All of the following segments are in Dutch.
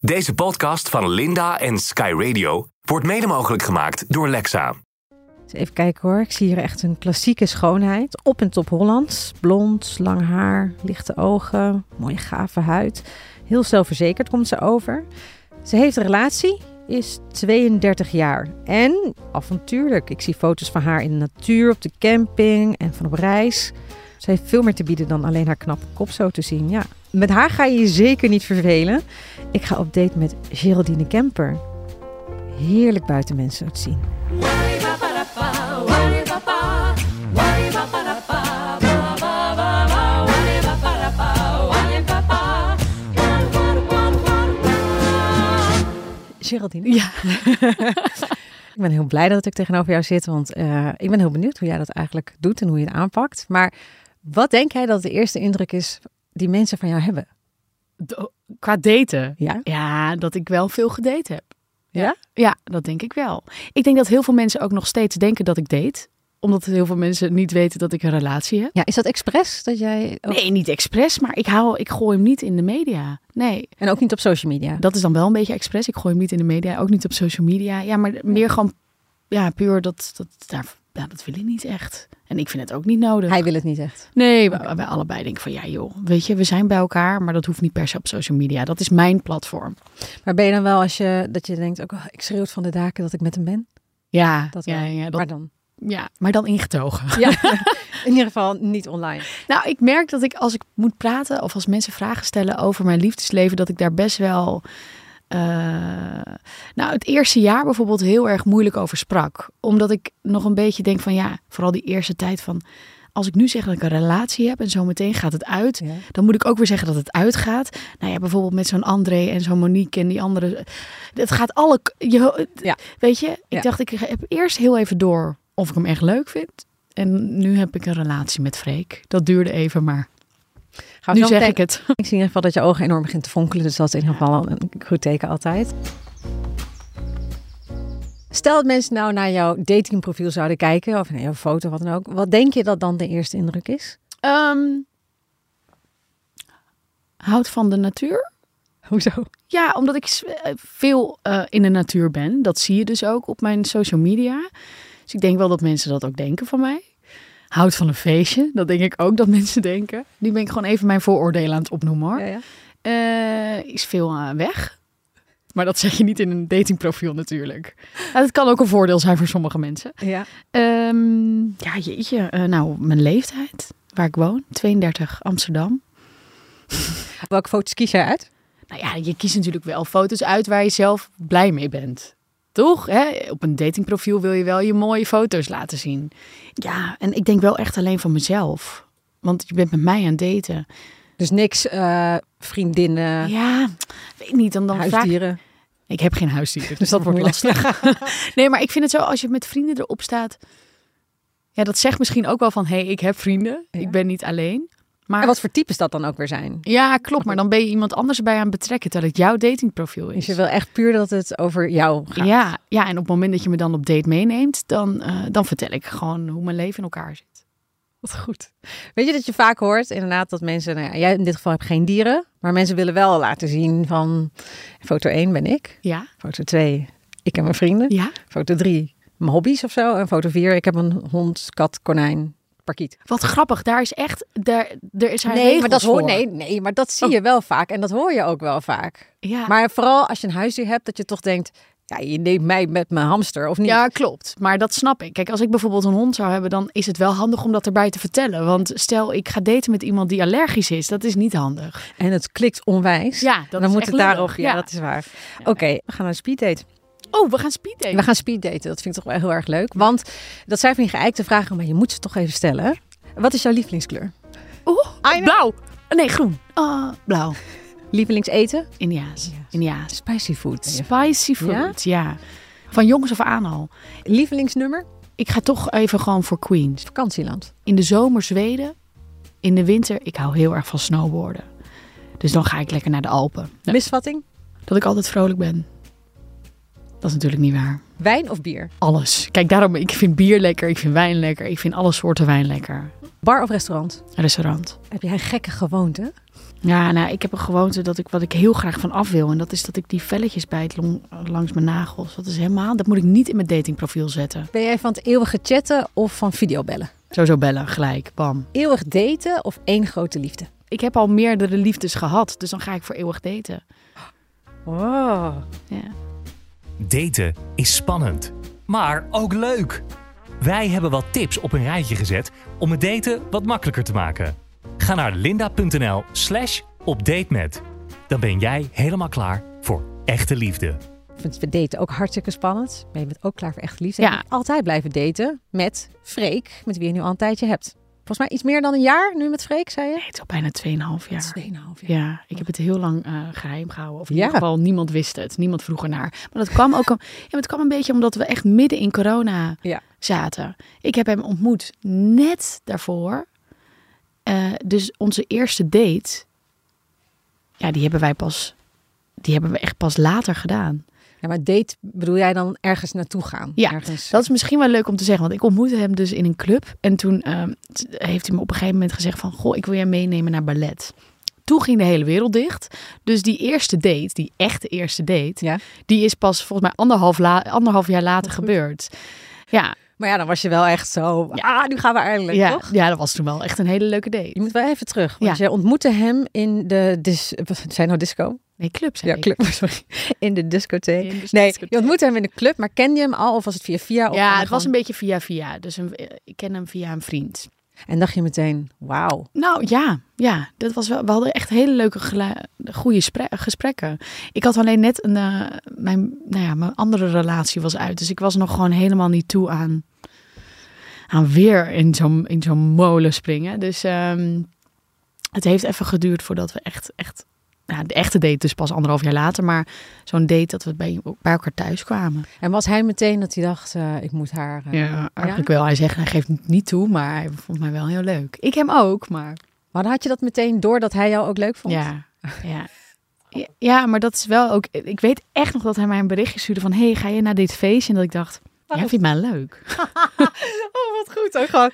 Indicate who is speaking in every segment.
Speaker 1: Deze podcast van Linda en Sky Radio wordt mede mogelijk gemaakt door Lexa.
Speaker 2: Eens Dus Even kijken hoor. Ik zie hier echt een klassieke schoonheid. Op en top Hollands. Blond, lang haar, lichte ogen, mooie gave huid. Heel zelfverzekerd komt ze over. Ze heeft een relatie, is 32 jaar en avontuurlijk. Ik zie foto's van haar in de natuur, op de camping en van op reis. Ze heeft veel meer te bieden dan alleen haar knappe kop zo te zien. Ja. Met haar ga je je zeker niet vervelen. Ik ga op date met Geraldine Kemper. Heerlijk buiten mensen het zien. Geraldine. Ja. ik ben heel blij dat ik tegenover jou zit, want eh, ik ben heel benieuwd hoe jij dat eigenlijk doet en hoe je het aanpakt. Maar wat denk jij dat de eerste indruk is die mensen van jou hebben?
Speaker 3: Do- Qua daten?
Speaker 2: Ja?
Speaker 3: Ja, dat ik wel veel gedate heb.
Speaker 2: Ja?
Speaker 3: Ja, dat denk ik wel. Ik denk dat heel veel mensen ook nog steeds denken dat ik date. Omdat heel veel mensen niet weten dat ik een relatie heb.
Speaker 2: Ja, is dat expres dat jij... ook-
Speaker 3: Nee, niet expres, maar ik, hou, ik gooi hem niet in de media. Nee,
Speaker 2: En ook niet op social media?
Speaker 3: dat is dan wel een beetje expres. Ik gooi hem niet in de media, ook niet op social media. Ja, maar meer gewoon ja, puur dat, dat, daar, ja, dat wil ik niet echt. En ik vind het ook niet nodig.
Speaker 2: Hij wil het niet echt.
Speaker 3: Nee, we- wij allebei denken van ja joh, weet je, we zijn bij elkaar, maar dat hoeft niet per se op social media. Dat is mijn platform.
Speaker 2: Maar ben je dan wel als je, dat je denkt, ook, oh, ik schreeuwt van de daken dat ik met hem ben?
Speaker 3: Ja,
Speaker 2: Dat
Speaker 3: ja,
Speaker 2: wel.
Speaker 3: ja, dat
Speaker 2: Maar dan?
Speaker 3: Ja, maar dan ingetogen.
Speaker 2: Ja, in ieder geval niet online.
Speaker 3: Nou, ik merk dat ik als ik moet praten of als mensen vragen stellen over mijn liefdesleven, dat ik daar best wel. eh, nou, het eerste jaar bijvoorbeeld heel erg moeilijk over sprak. Omdat ik nog een beetje denk van ja, vooral die eerste tijd van. Als ik nu zeg dat ik een relatie heb en zo meteen gaat het uit,
Speaker 2: Ja.
Speaker 3: dan moet ik ook weer zeggen dat het uitgaat. Nou ja, bijvoorbeeld met zo'n André en zo'n Monique en die andere. Het gaat alle. k- Je,
Speaker 2: Ja.
Speaker 3: Weet je, ik
Speaker 2: Ja.
Speaker 3: dacht ik heb eerst heel even door of ik hem echt leuk vind. En nu heb ik een relatie met Freek. Dat duurde even, maar
Speaker 2: Gaan we
Speaker 3: nu
Speaker 2: zo
Speaker 3: zeg
Speaker 2: meteen-
Speaker 3: ik het.
Speaker 2: Ik zie in ieder geval dat je ogen enorm begint te fonkelen. Dus dat is in ieder geval al een goed teken altijd. Stel dat mensen nou naar jouw datingprofiel zouden kijken. Of naar jouw foto, wat dan ook. Wat denk je dat dan de eerste indruk is?
Speaker 3: Ehm, houdt van de natuur?
Speaker 2: Hoezo?
Speaker 3: Ja, omdat ik s- eh, veel eh, in de natuur ben. Dat zie je dus ook op mijn social media. Dus ik denk wel dat mensen dat ook denken van mij. Houdt van een feestje. Dat denk ik ook dat mensen denken. Nu ben ik gewoon even mijn vooroordelen aan het opnoemen hoor. Eh, is veel eh, weg. Maar dat zeg je niet in een datingprofiel natuurlijk. Het dat kan ook een voordeel zijn voor sommige mensen.
Speaker 2: Ja.
Speaker 3: Ehm, ja, jeetje. Eh, nou, mijn leeftijd. Waar ik woon. 32, Amsterdam.
Speaker 2: Welke foto's kies jij uit?
Speaker 3: Nou ja, je kiest natuurlijk wel foto's uit waar je zelf blij mee bent. Toch? Hè? Op een datingprofiel wil je wel je mooie foto's laten zien. Ja, en ik denk wel echt alleen van mezelf. Want je bent met mij aan het daten.
Speaker 2: Dus niks eh, vriendinnen,
Speaker 3: Ja, weet niet. Dan, dan vraag
Speaker 2: huisdieren.
Speaker 3: Ik heb geen huisdier, dus dat wordt
Speaker 2: Moeilijk.
Speaker 3: lastig. nee, maar ik vind het zo, als je met vrienden erop staat... Ja, dat zegt misschien ook wel van, hé, hey, ik heb vrienden.
Speaker 2: Ja.
Speaker 3: Ik ben niet alleen. Maar,
Speaker 2: En wat voor types dat dan ook weer zijn?
Speaker 3: Ja, klopt. Maar dan ben je iemand anders bij aan het betrekken, terwijl het jouw datingprofiel
Speaker 2: Dus
Speaker 3: is.
Speaker 2: je wil echt puur dat het over jou gaat.
Speaker 3: ja, ja, en op het moment dat je me dan op date meeneemt, dan, eh, dan vertel ik gewoon hoe mijn leven in elkaar zit.
Speaker 2: Wat goed. Weet je dat je vaak hoort inderdaad dat mensen, nou ja, jij in dit geval hebt geen dieren, maar mensen willen wel laten zien van foto 1 ben ik,
Speaker 3: Ja?
Speaker 2: foto 2 ik en mijn vrienden,
Speaker 3: Ja?
Speaker 2: foto 3 mijn hobby's of zo en foto 4 ik heb een hond, kat, konijn, parkiet.
Speaker 3: Wat grappig, daar is echt, daar, er is haar
Speaker 2: maar dat
Speaker 3: hoor
Speaker 2: hoor nee, nee, maar dat zie je wel vaak en dat hoor je ook wel vaak.
Speaker 3: Ja.
Speaker 2: Maar vooral als je een huisdier hebt dat je toch denkt, ja, je neemt mij met mijn hamster of niet.
Speaker 3: Ja, klopt. Maar dat snap ik. Kijk, als ik bijvoorbeeld een hond zou hebben, dan is het wel handig om dat erbij te vertellen. Want stel, ik ga daten met iemand die allergisch is, dat is niet handig.
Speaker 2: En het klikt onwijs.
Speaker 3: Ja, dat
Speaker 2: dan
Speaker 3: is
Speaker 2: moet
Speaker 3: echt
Speaker 2: het daar
Speaker 3: lullig.
Speaker 2: ook. Ja,
Speaker 3: Ja.
Speaker 2: dat is waar. Oké, we gaan naar een speeddate.
Speaker 3: Oh, we gaan speeddaten.
Speaker 2: We gaan speeddaten. Dat vind ik toch wel heel erg leuk. Want dat zijn van die geëikte vragen, maar je moet ze toch even stellen. Wat is jouw lievelingskleur?
Speaker 3: Oeh, Oh, blauw. Nee, groen. Ah, blauw.
Speaker 2: Lievelingseten?
Speaker 3: Indiaas. Indiaas.
Speaker 2: Spicy food.
Speaker 3: Spicy food, ja? Van jongens af aan al.
Speaker 2: Lievelingsnummer?
Speaker 3: Ik ga toch even gewoon voor Queens.
Speaker 2: Vakantieland.
Speaker 3: In de zomer Zweden. In de winter, ik hou heel erg van snowboarden. Dus dan ga ik lekker naar de Alpen.
Speaker 2: Misvatting?
Speaker 3: Dat ik altijd vrolijk ben. Dat is natuurlijk niet waar.
Speaker 2: Wijn of bier?
Speaker 3: alles. Kijk, daarom, ik vind bier lekker, ik vind wijn lekker, ik vind alle soorten wijn lekker.
Speaker 2: Bar of restaurant?
Speaker 3: Restaurant.
Speaker 2: Heb jij een gekke gewoonte?
Speaker 3: Ja, nou, ik heb een gewoonte dat ik wat ik heel graag van af wil. En dat is dat ik die velletjes bijt long- langs mijn nagels. Dat is helemaal, dat moet ik niet in mijn datingprofiel zetten.
Speaker 2: Ben jij van het eeuwige chatten of van videobellen?
Speaker 3: Sowieso bellen, gelijk, bam.
Speaker 2: Eeuwig daten of één grote liefde?
Speaker 3: Ik heb al meerdere liefdes gehad, dus dan ga ik voor eeuwig daten. Oh.
Speaker 2: Wow.
Speaker 3: Ja.
Speaker 4: Daten is spannend, maar ook leuk. Wij hebben wat tips op een rijtje gezet om het daten wat makkelijker te maken. Ga naar linda.nl slash opdatemet. Dan ben jij helemaal klaar voor echte liefde.
Speaker 2: Ik vind we daten ook hartstikke spannend. Maar je bent ook klaar voor echt liefde.
Speaker 3: Ja.
Speaker 2: En altijd blijven daten met Freek, met wie je nu al een tijdje hebt. Volgens mij iets meer dan een jaar nu met Freek, zei je?
Speaker 3: Nee, het is al bijna 2,5 jaar.
Speaker 2: Tweeënhalf jaar.
Speaker 3: Ja, ik heb het heel lang eh, geheim gehouden. Of in
Speaker 2: Ja.
Speaker 3: ieder geval, niemand wist het. Niemand vroeg ernaar. Maar dat kwam ook een, ja, maar het kwam een beetje omdat we echt midden in corona
Speaker 2: Ja.
Speaker 3: zaten. Ik heb hem ontmoet net daarvoor. Eh, dus onze eerste date, ja, die hebben wij pas, die hebben we echt pas later gedaan.
Speaker 2: Ja, maar date bedoel jij dan ergens naartoe gaan?
Speaker 3: Ja,
Speaker 2: ergens...
Speaker 3: Dat is misschien wel leuk om te zeggen, want ik ontmoette hem dus in een club. En toen eh, t- heeft hij me op een gegeven moment gezegd van, goh, ik wil jij meenemen naar ballet. Toen ging de hele wereld dicht. Dus die eerste date, die echte eerste date,
Speaker 2: Ja.
Speaker 3: die is pas volgens mij anderhalf, la- anderhalf jaar later
Speaker 2: Goed.
Speaker 3: gebeurd. Ja,
Speaker 2: Maar ja, dan was je wel echt zo. Ah, nu gaan we eindelijk,
Speaker 3: ja,
Speaker 2: toch?
Speaker 3: ja, dat was toen wel echt een hele leuke
Speaker 2: Je
Speaker 3: date.
Speaker 2: moet wel even terug. Want
Speaker 3: Ja.
Speaker 2: je ontmoette hem in de. Dis... wat- Zijn nou disco?
Speaker 3: Nee, club zei
Speaker 2: Ja,
Speaker 3: ik.
Speaker 2: club. Sorry. In de discotheek.
Speaker 3: In de
Speaker 2: Nee,
Speaker 3: discotheek.
Speaker 2: je ontmoette hem in de club, maar kende je hem al? Of was het via via? Of
Speaker 3: Ja,
Speaker 2: dan
Speaker 3: het was een
Speaker 2: gewoon-
Speaker 3: beetje via via. Dus een, ik ken hem via een vriend.
Speaker 2: En dacht je meteen, wauw.
Speaker 3: Nou ja, ja dat was wel, we hadden echt hele leuke, gela- goede spre- gesprekken. Ik had alleen net een, eh, mijn, nou ja, mijn andere relatie was uit. Dus ik was nog gewoon helemaal niet toe aan, aan weer in zo'n in zo'n molen springen. Dus ehm, het heeft even geduurd voordat we echt, echt nou, de echte date dus pas anderhalf jaar later. Maar zo'n date dat we bij, bij elkaar thuis kwamen.
Speaker 2: En was hij meteen dat hij dacht, eh, ik moet haar. eh,
Speaker 3: Ja, eigenlijk wel. Hij zegt, hij geeft het niet toe, maar hij vond mij wel heel leuk. Ik hem ook, maar...
Speaker 2: Maar dan had je dat meteen door dat hij jou ook leuk vond?
Speaker 3: Ja, ja. Ja, Ja, maar dat is wel ook... Ik weet echt nog dat hij mij een berichtje stuurde van... hey, ga je naar dit feestje? En dat ik dacht, jij vindt mij leuk.
Speaker 2: Oh, wat goed. Ook gewoon.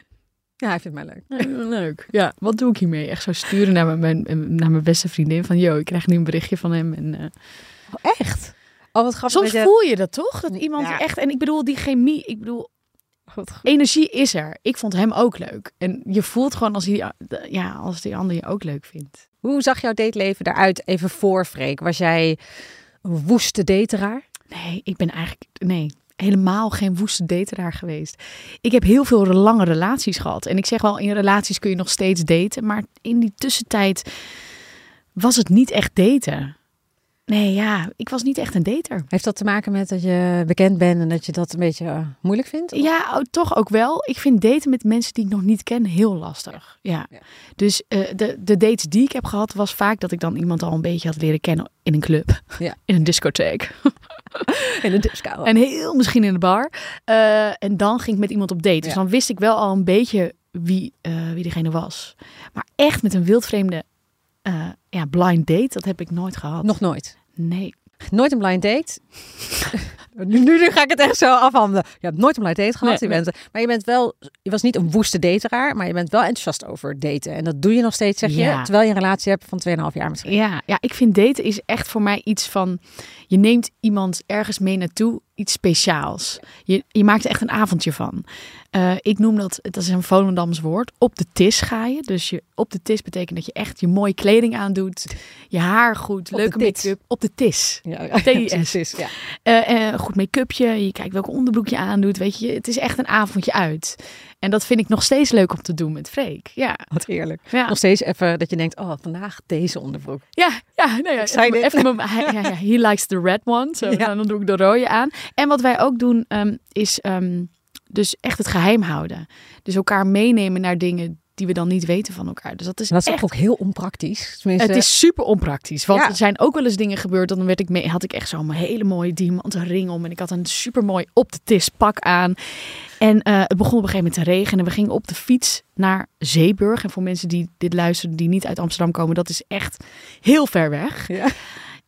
Speaker 2: Ja, hij vindt mij leuk.
Speaker 3: leuk, ja. Wat doe ik hiermee? Echt zo sturen naar mijn, mijn, naar mijn beste vriendin van... yo, ik krijg nu een berichtje van hem. En, eh,
Speaker 2: Oh, echt? Oh, wat grappig. dat
Speaker 3: Soms
Speaker 2: je-
Speaker 3: voel je dat toch? Dat iemand
Speaker 2: Ja.
Speaker 3: echt... En ik bedoel, die chemie... Ik bedoel,
Speaker 2: Wat goed.
Speaker 3: energie is er. Ik vond hem ook leuk. En je voelt gewoon als, die, ja, als die ander je ook leuk vindt.
Speaker 2: Hoe zag jouw dateleven eruit even voor Freek? Was jij een woeste dateraar?
Speaker 3: Nee, ik ben eigenlijk nee, helemaal geen woeste dateraar geweest. Ik heb heel veel lange relaties gehad. En ik zeg wel, in relaties kun je nog steeds daten. Maar in die tussentijd was het niet echt daten. Nee, ja, ik was niet echt een dater.
Speaker 2: Heeft dat te maken met dat je bekend bent en dat je dat een beetje eh, moeilijk vindt?
Speaker 3: Ja, o- toch ook wel. Ik vind daten met mensen die ik nog niet ken heel lastig. Ja.
Speaker 2: Ja.
Speaker 3: Dus eh, de, de dates die ik heb gehad, was vaak dat ik dan iemand al een beetje had leren kennen in een club.
Speaker 2: Ja.
Speaker 3: In een discotheek.
Speaker 2: in de disco.
Speaker 3: En heel misschien in de bar. Eh, en dan ging ik met iemand op date. Dus
Speaker 2: Ja.
Speaker 3: dan wist ik wel al een beetje wie, eh, wie degene was. Maar echt met een wildvreemde eh, ja, blind date, dat heb ik nooit gehad.
Speaker 2: Nog nooit.
Speaker 3: Nee.
Speaker 2: Nooit een blind date. nu, nu, nu ga ik het echt zo afhandelen. Je hebt nooit een blind date gehad.
Speaker 3: Nee,
Speaker 2: je bent, maar je bent wel, je was niet een woeste dateraar, maar je bent wel enthousiast over daten. En dat doe je nog steeds, zeg je.
Speaker 3: Ja.
Speaker 2: Terwijl je een relatie hebt van 2,5 jaar misschien.
Speaker 3: Ja, ja, ik vind daten is echt voor mij iets van... Je neemt iemand ergens mee naartoe, iets speciaals. Je, je maakt er echt een avondje van. Eh, ik noem dat, dat is een Volendams woord, op de tis ga je. Dus je, op de tis betekent dat je echt je mooie kleding aandoet. Je haar goed,
Speaker 2: Op
Speaker 3: leuke
Speaker 2: de tit.
Speaker 3: make-up. Op de tis.
Speaker 2: Ja,
Speaker 3: TIS.
Speaker 2: precies, ja.
Speaker 3: eh eh, goed make-upje, je kijkt welk onderbroek je aandoet, weet je. Het is echt een avondje uit. En dat vind ik nog steeds leuk om te doen met Freek. Ja,
Speaker 2: Wat eerlijk.
Speaker 3: ja,
Speaker 2: Nog steeds even dat je denkt, oh, vandaag deze onderbroek.
Speaker 3: ja, ja, nou ja
Speaker 2: zei
Speaker 3: even,
Speaker 2: dit.
Speaker 3: even mom- hij- ja, ja, he likes the red one, zo,
Speaker 2: Ja.
Speaker 3: nou, dan doe ik de rode aan. En wat wij ook doen ehm, is ehm, dus echt het geheim houden. Dus elkaar meenemen naar dingen die we dan niet weten van elkaar. Dus dat is
Speaker 2: En dat is
Speaker 3: echt
Speaker 2: ook heel onpraktisch. Tenminste,
Speaker 3: Het is super onpraktisch. Want
Speaker 2: Ja.
Speaker 3: er zijn ook wel eens dingen gebeurd. Dan werd ik mee, had ik echt zo'n hele mooie diamanten ring om. En ik had een super mooi op de tis pak aan. En eh, het begon op een gegeven moment te regenen. We gingen op de fiets naar Zeeburg. En voor mensen die dit luisteren, die niet uit Amsterdam komen, dat is echt heel ver weg.
Speaker 2: Ja.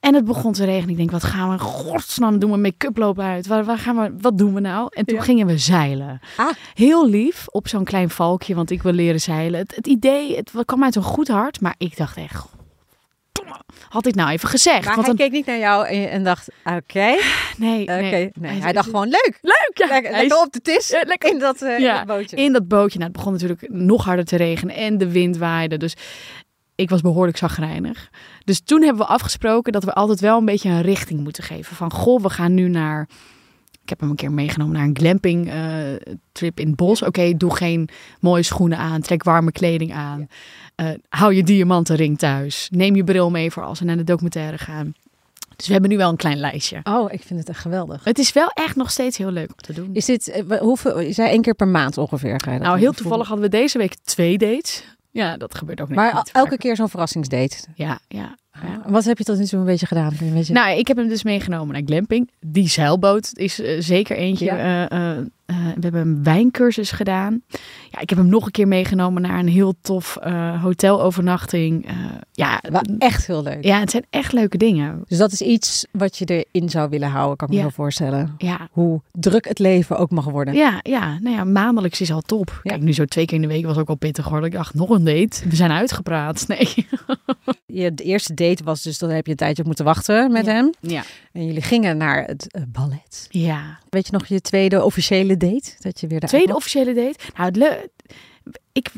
Speaker 3: En het begon te regenen. Ik denk, wat gaan we in godsnaam doen? We make-up lopen uit. Waar, waar gaan we, wat doen we nou? En toen
Speaker 2: Ja.
Speaker 3: gingen we zeilen.
Speaker 2: Ah.
Speaker 3: Heel lief op zo'n klein valkje, want ik wil leren zeilen. Het, het idee, het kwam uit een goed hart. Maar ik dacht echt, godverdomme, had dit nou even gezegd?
Speaker 2: Maar
Speaker 3: Want
Speaker 2: hij
Speaker 3: dan-
Speaker 2: keek niet naar jou en, en dacht, oké,
Speaker 3: nee,
Speaker 2: oké.
Speaker 3: nee.
Speaker 2: Nee,
Speaker 3: Hij-
Speaker 2: hij dacht gewoon leuk.
Speaker 3: Leuk, ja.
Speaker 2: Lekker,
Speaker 3: Hij
Speaker 2: lekker
Speaker 3: is-
Speaker 2: op de tis
Speaker 3: Ja, lekker
Speaker 2: in, dat, eh, in
Speaker 3: Ja,
Speaker 2: dat bootje.
Speaker 3: in dat bootje. Nou, het begon natuurlijk nog harder te regenen en de wind waaide. Dus ik was behoorlijk zagrijnig. Dus toen hebben we afgesproken dat we altijd wel een beetje een richting moeten geven. Van, goh, we gaan nu naar... Ik heb hem een keer meegenomen naar een glamping eh, trip in het bos. Oké, doe geen mooie schoenen aan. Trek warme kleding aan. Eh, hou je diamantenring thuis. Neem je bril mee voor als we naar de documentaire gaan. Dus we hebben nu wel een klein lijstje.
Speaker 2: Oh, ik vind het echt geweldig.
Speaker 3: Het is wel echt nog steeds heel leuk om te doen.
Speaker 2: Is dit, eh, wa- hoeveel, is hij één keer per maand ongeveer? Ga je dat
Speaker 3: Nou,
Speaker 2: doen?
Speaker 3: heel toevallig hadden we deze week twee dates. Ja, dat gebeurt ook niet.
Speaker 2: Maar
Speaker 3: niet
Speaker 2: elke
Speaker 3: vaak.
Speaker 2: keer zo'n verrassingsdate.
Speaker 3: Ja, ja. ja.
Speaker 2: Ah, Wat heb je tot nu toe een beetje gedaan? Een beetje...
Speaker 3: Nou, ik heb hem dus meegenomen naar glamping. Die zeilboot is eh, zeker eentje.
Speaker 2: Ja.
Speaker 3: Eh, eh, eh, we hebben een wijncursus gedaan. Ja, ik heb hem nog een keer meegenomen naar een heel tof eh, hotelovernachting. Eh, ja,
Speaker 2: Wa- echt heel leuk.
Speaker 3: ja, het zijn echt leuke dingen.
Speaker 2: Dus dat is iets wat je erin zou willen houden, kan ik
Speaker 3: Ja.
Speaker 2: me zo voorstellen.
Speaker 3: Ja,
Speaker 2: Hoe druk het leven ook mag worden.
Speaker 3: ja, ja. Nou ja, maandelijks is al top.
Speaker 2: Ja.
Speaker 3: Kijk, nu zo twee keer in de week was ook al pittig hoor. Ik dacht, nog een date. We zijn uitgepraat. Nee.
Speaker 2: Je, de eerste date was dus, dan heb je een tijdje op moeten wachten met
Speaker 3: Ja.
Speaker 2: hem.
Speaker 3: Ja.
Speaker 2: En jullie gingen naar het eh, ballet.
Speaker 3: Ja.
Speaker 2: Weet je nog je tweede officiële date? Dat je weer de
Speaker 3: tweede officiële date. Nou, het leu- ik,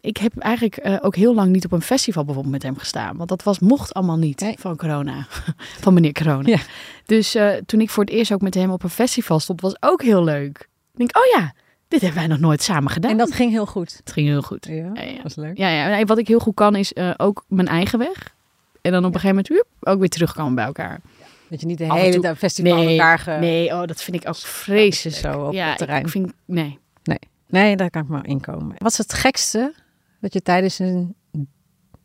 Speaker 3: ik heb eigenlijk eh, ook heel lang niet op een festival bijvoorbeeld met hem gestaan. Want dat was, mocht allemaal niet
Speaker 2: Nee.
Speaker 3: van corona. van meneer corona.
Speaker 2: Ja.
Speaker 3: Dus eh, toen ik voor het eerst ook met hem op een festival stond, was ook heel leuk. Ik denk, oh ja, dit hebben wij nog nooit samen gedaan.
Speaker 2: En dat ging heel goed.
Speaker 3: het ging heel goed.
Speaker 2: Ja,
Speaker 3: Ja, ja.
Speaker 2: was leuk.
Speaker 3: Ja, ja. nee, wat ik heel goed kan is eh, ook mijn eigen weg. En dan op een gegeven moment woep, ook weer terugkomen bij elkaar.
Speaker 2: Dat je niet de
Speaker 3: Af en
Speaker 2: hele
Speaker 3: toe-
Speaker 2: dag festival aan elkaar ge...
Speaker 3: nee, oh, dat vind ik ook vreselijk.
Speaker 2: zo op
Speaker 3: ja,
Speaker 2: het
Speaker 3: ik-
Speaker 2: terrein.
Speaker 3: Ik vind, nee.
Speaker 2: Nee, daar kan ik maar inkomen. Wat is het gekste dat je tijdens een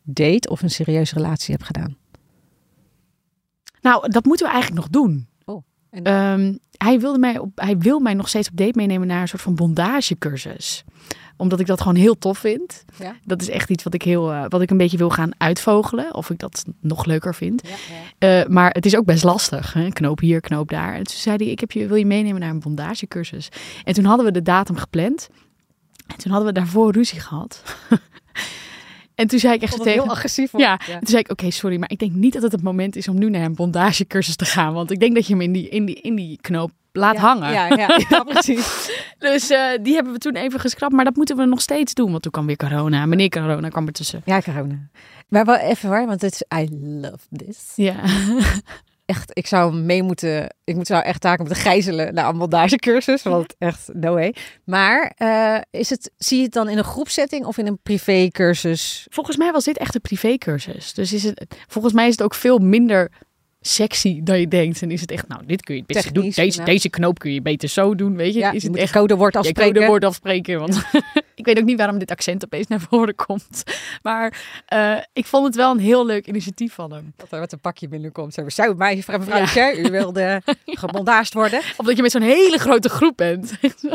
Speaker 2: date of een serieuze relatie hebt gedaan?
Speaker 3: Nou, dat moeten we eigenlijk nog doen.
Speaker 2: Oh, en-
Speaker 3: Ehm, hij, wilde mij op, hij wil mij nog steeds op date meenemen naar een soort van bondagecursus. Omdat ik dat gewoon heel tof vind.
Speaker 2: Ja.
Speaker 3: Dat is echt iets wat ik, heel, eh, wat ik een beetje wil gaan uitvogelen. Of ik dat nog leuker vind. Eh, maar het is ook best lastig. Hè? Knoop hier, knoop daar. En toen zei hij, ik heb je, wil je meenemen naar een bondagecursus. En toen hadden we de datum gepland. En toen hadden we daarvoor ruzie gehad. en toen zei ik echt
Speaker 2: Vond het
Speaker 3: tegen
Speaker 2: heel agressief.
Speaker 3: ja,
Speaker 2: Ja.
Speaker 3: toen zei ik, oké, sorry, maar ik denk niet dat het het moment is om nu naar een bondagecursus te gaan. Want ik denk dat je hem in die, in die, in die knoop laat
Speaker 2: Ja,
Speaker 3: hangen.
Speaker 2: Ja, ja, ja, precies.
Speaker 3: Dus eh, die hebben we toen even geschrapt. Maar dat moeten we nog steeds doen, want toen kwam weer corona. Meneer corona kwam ertussen.
Speaker 2: Ja, corona. Maar wel even waar, want het is I love this.
Speaker 3: Ja,
Speaker 2: Echt, ik zou hem mee moeten... Ik moet zou echt taken moeten gijzelen naar een montagecursus. Want echt, no way. Maar eh, is het, zie je het dan in een groepsetting of in een privécursus?
Speaker 3: volgens mij was dit echt een privécursus. Dus is het, volgens mij is het ook veel minder sexy dan je denkt. En is het echt, nou, dit kun je het beste doen.
Speaker 2: Technisch,
Speaker 3: Deze,
Speaker 2: ja.
Speaker 3: deze knoop kun je beter zo doen, weet je.
Speaker 2: Ja,
Speaker 3: is
Speaker 2: je
Speaker 3: het
Speaker 2: moet
Speaker 3: echt
Speaker 2: echt codewoord
Speaker 3: Ik
Speaker 2: afspreken.
Speaker 3: kan de woord afspreken, want ik weet ook niet waarom dit accent opeens naar voren komt. Maar eh, ik vond het wel een heel leuk initiatief van hem.
Speaker 2: Dat er wat een pakje binnenkomt. Zo, zo meisje, mevrouw,
Speaker 3: Ja.
Speaker 2: ja. u wilde gebondaagd worden.
Speaker 3: Of dat je met zo'n hele grote groep bent. Zo,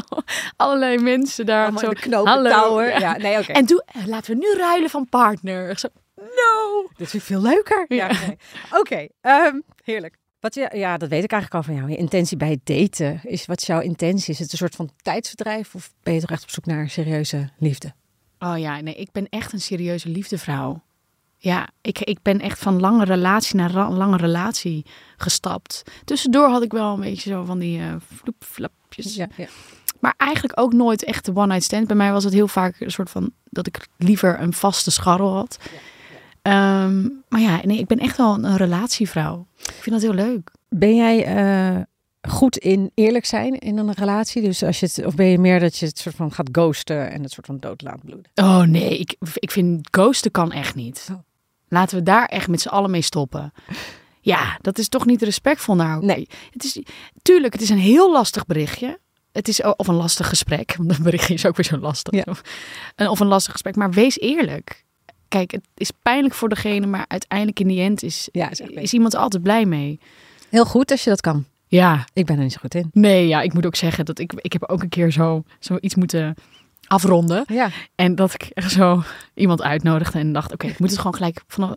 Speaker 3: Allerlei mensen daar.
Speaker 2: Allemaal
Speaker 3: zo,
Speaker 2: in de knopen,
Speaker 3: hallo.
Speaker 2: touwen.
Speaker 3: Ja.
Speaker 2: Ja, nee, oké.
Speaker 3: En doe, eh, laten we nu ruilen van partner. Ik Zo, no!
Speaker 2: Dit vind ik veel leuker. Ja.
Speaker 3: Ja.
Speaker 2: nee. Oké, ehm, heerlijk. Wat je, ja, dat weet ik eigenlijk al van jou. Je intentie bij het daten. Is, wat is jouw intentie? Is het een soort van tijdsverdrijf? Of ben je toch echt op zoek naar serieuze liefde?
Speaker 3: Oh ja, nee, ik ben echt een serieuze liefdevrouw. Ja, ik, ik ben echt van lange relatie naar ra- lange relatie gestapt. Tussendoor had ik wel een beetje zo van die eh floep, flapjes.
Speaker 2: Dus, ja.
Speaker 3: Maar eigenlijk ook nooit echt de one-night stand. Bij mij was het heel vaak een soort van dat ik liever een vaste scharrel had. Ehm, maar ja, nee, ik ben echt wel een, een relatievrouw. Ik vind dat heel leuk.
Speaker 2: Ben jij eh, goed in eerlijk zijn in een relatie? Dus als je het, of ben je meer dat je het soort van gaat ghosten en het soort van dood laat bloeden?
Speaker 3: Oh nee, ik, ik vind ghosten kan echt niet.
Speaker 2: Oh.
Speaker 3: Laten we daar echt met z'n allen mee stoppen. Ja, dat is toch niet respectvol naar elkaar.
Speaker 2: Nee.
Speaker 3: Het is, tuurlijk, het is een heel lastig berichtje. Het is, of een lastig gesprek. Want een berichtje is ook weer zo lastig.
Speaker 2: Ja.
Speaker 3: En Of een lastig gesprek. Maar wees eerlijk. Kijk, het is pijnlijk voor degene, maar uiteindelijk in die end is,
Speaker 2: Ja, is
Speaker 3: is,
Speaker 2: echt leuk.
Speaker 3: iemand er altijd blij mee.
Speaker 2: Heel goed als je dat kan.
Speaker 3: Ja,
Speaker 2: Ik ben er niet zo goed in.
Speaker 3: nee, ja, ik moet ook zeggen dat ik, ik heb ook een keer zo, zo iets moeten afronden.
Speaker 2: Ja.
Speaker 3: En dat ik echt zo iemand uitnodigde en dacht, oké, ik moet het gewoon gelijk vanaf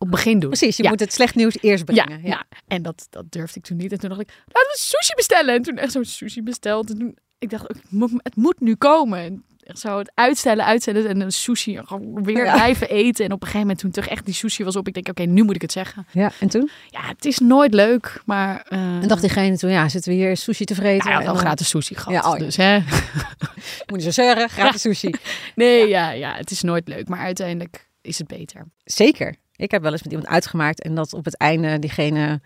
Speaker 3: op het begin doen.
Speaker 2: Precies, je
Speaker 3: Ja.
Speaker 2: moet het slecht nieuws eerst
Speaker 3: Ja,
Speaker 2: brengen.
Speaker 3: ja. en dat, dat durfde ik toen niet. En toen dacht ik, laten we sushi bestellen. En toen echt zo'n sushi besteld. En toen, ik dacht, ook, ik moet- het moet nu komen. En Echt zo het uitstellen, uitstellen en een sushi gewoon weer
Speaker 2: Ja.
Speaker 3: blijven eten. En op een gegeven moment toen toch echt die sushi was op, ik denk oké, nu moet ik het zeggen.
Speaker 2: Ja, en toen?
Speaker 3: Ja, het is nooit leuk, maar... eh,
Speaker 2: En dacht diegene toen, ja, zitten we hier sushi te vreten?
Speaker 3: nou, hij had
Speaker 2: En
Speaker 3: al
Speaker 2: dan-
Speaker 3: gratis sushi gehad,
Speaker 2: Ja, oh ja.
Speaker 3: dus hè.
Speaker 2: Moet je zo zeggen, gratis sushi.
Speaker 3: Nee, ja. Ja, het is nooit leuk, maar uiteindelijk is het beter.
Speaker 2: Zeker. Ik heb wel eens met iemand uitgemaakt en dat op het einde diegene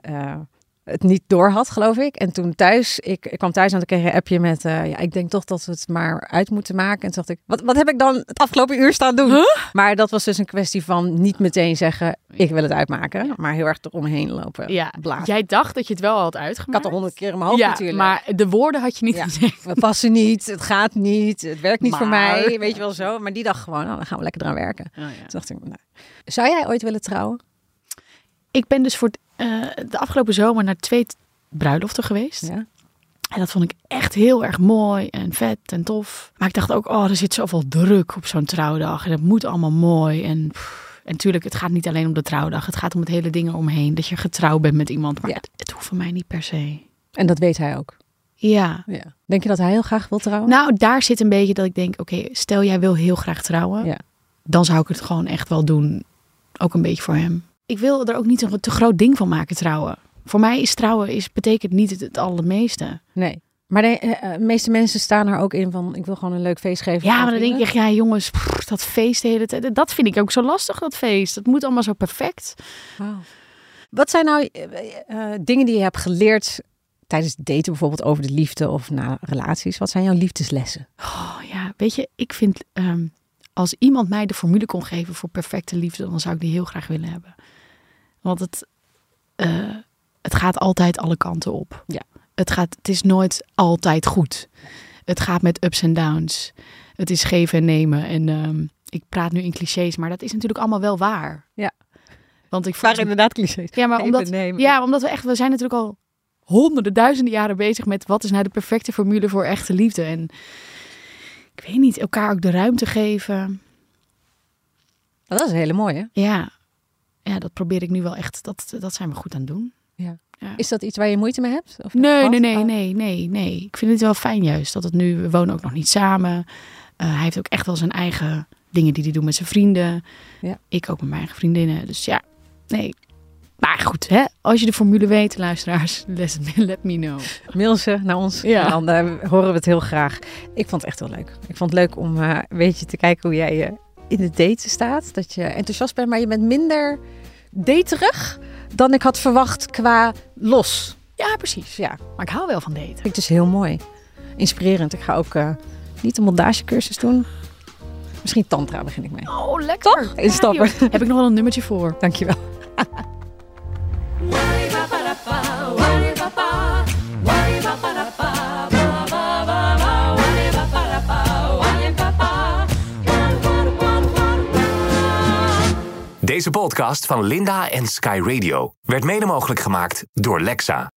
Speaker 2: eh, het niet door had, geloof ik. En toen thuis, ik, ik kwam thuis en toen kreeg ik een appje met, eh, ja, ik denk toch dat we het maar uit moeten maken. En toen dacht ik, wat, wat heb ik dan het afgelopen uur staan doen? Maar dat was dus een kwestie van niet meteen zeggen, ik wil het uitmaken, maar heel erg eromheen lopen.
Speaker 3: Ja,
Speaker 2: blaad.
Speaker 3: jij dacht dat je het wel had
Speaker 2: Ik had
Speaker 3: uitgemaakt.
Speaker 2: er honderd keer in mijn hoofd
Speaker 3: ja,
Speaker 2: natuurlijk.
Speaker 3: maar de woorden had je niet
Speaker 2: Ja.
Speaker 3: gezegd.
Speaker 2: We passen niet, het gaat niet, het werkt niet voor
Speaker 3: Maar-
Speaker 2: mij, weet je wel zo. Maar die dacht gewoon, nou, dan gaan we lekker eraan werken.
Speaker 3: Oh, ja.
Speaker 2: Toen dacht ik, nou, zou jij ooit willen trouwen?
Speaker 3: Ik ben dus voor het, eh, de afgelopen zomer naar twee t- bruiloften geweest.
Speaker 2: Ja.
Speaker 3: En dat vond ik echt heel erg mooi en vet en tof. Maar ik dacht ook, oh, er zit zoveel druk op zo'n trouwdag. En dat moet allemaal mooi. En, pff, en natuurlijk, het gaat niet alleen om de trouwdag. Het gaat om het hele ding omheen. Dat je getrouwd bent met iemand. Maar
Speaker 2: Ja.
Speaker 3: het, het hoeft voor mij niet per se.
Speaker 2: En dat weet hij ook.
Speaker 3: Ja.
Speaker 2: Ja. Denk je dat hij heel graag wil trouwen?
Speaker 3: Nou, daar zit een beetje dat ik denk, oké, stel jij wil heel graag trouwen.
Speaker 2: Ja.
Speaker 3: Dan zou ik het gewoon echt wel doen. Ook een beetje voor hem. Ik wil er ook niet een te groot ding van maken trouwen. Voor mij is trouwen is, betekent niet het, het allermeeste.
Speaker 2: Nee. Maar de eh, eh, meeste mensen staan er ook in van, ik wil gewoon een leuk feest geven.
Speaker 3: Ja, maar dan denk je echt, ja jongens, pff, dat feest de hele tijd. Dat vind ik ook zo lastig, dat feest. Dat moet allemaal zo perfect.
Speaker 2: Oh. Wat zijn nou eh, eh, dingen die je hebt geleerd tijdens het daten bijvoorbeeld over de liefde of na relaties? Wat zijn jouw liefdeslessen?
Speaker 3: Oh ja, weet je, ik vind ehm, als iemand mij de formule kon geven voor perfecte liefde, dan zou ik die heel graag willen hebben. Want het, eh, het gaat altijd alle kanten op.
Speaker 2: Ja.
Speaker 3: Het, gaat, het is nooit altijd goed. Het gaat met ups en downs. Het is geven en nemen. En ehm, ik praat nu in clichés, maar dat is natuurlijk allemaal wel waar.
Speaker 2: Ja.
Speaker 3: Want ik volgens-
Speaker 2: inderdaad clichés.
Speaker 3: ja, maar
Speaker 2: Geven
Speaker 3: omdat,
Speaker 2: en nemen.
Speaker 3: ja, maar omdat we echt, we zijn natuurlijk al honderden, duizenden jaren bezig met wat is nou de perfecte formule voor echte liefde. En ik weet niet, elkaar ook de ruimte geven.
Speaker 2: Oh, Dat is een hele mooie.
Speaker 3: Ja, ja dat probeer ik nu wel echt, dat, dat zijn we goed aan het doen.
Speaker 2: Is dat iets waar je moeite mee hebt? Of
Speaker 3: Nee,
Speaker 2: Wat?
Speaker 3: nee, nee,
Speaker 2: Oh.
Speaker 3: nee, nee, nee. Ik vind het wel fijn juist dat het nu, we wonen ook nog niet samen. Eh, hij heeft ook echt wel zijn eigen dingen die hij doet met zijn vrienden.
Speaker 2: Ja.
Speaker 3: Ik ook met mijn eigen vriendinnen. Dus ja, nee. Maar goed, hè? als je de formule weet, luisteraars, let me- let me know.
Speaker 2: Mail ze naar ons.
Speaker 3: Ja.
Speaker 2: En dan eh, horen we het heel graag. Ik vond het echt heel leuk. Ik vond het leuk om eh, een beetje te kijken hoe jij eh, in het daten staat. Dat je enthousiast bent, maar je bent minder daterig dan ik had verwacht qua los.
Speaker 3: Ja, precies.
Speaker 2: Dus ja, vind
Speaker 3: Maar ik hou wel van daten.
Speaker 2: ik dus heel mooi. Inspirerend. Ik ga ook eh, niet een montagecursus doen. Misschien tantra begin ik mee.
Speaker 3: Oh, lekker.
Speaker 2: Toch? Instappen.
Speaker 3: joh. Heb ik nog wel een nummertje voor.
Speaker 2: Dankjewel.
Speaker 1: Deze podcast van Linda en Sky Radio werd mede mogelijk gemaakt door Lexa.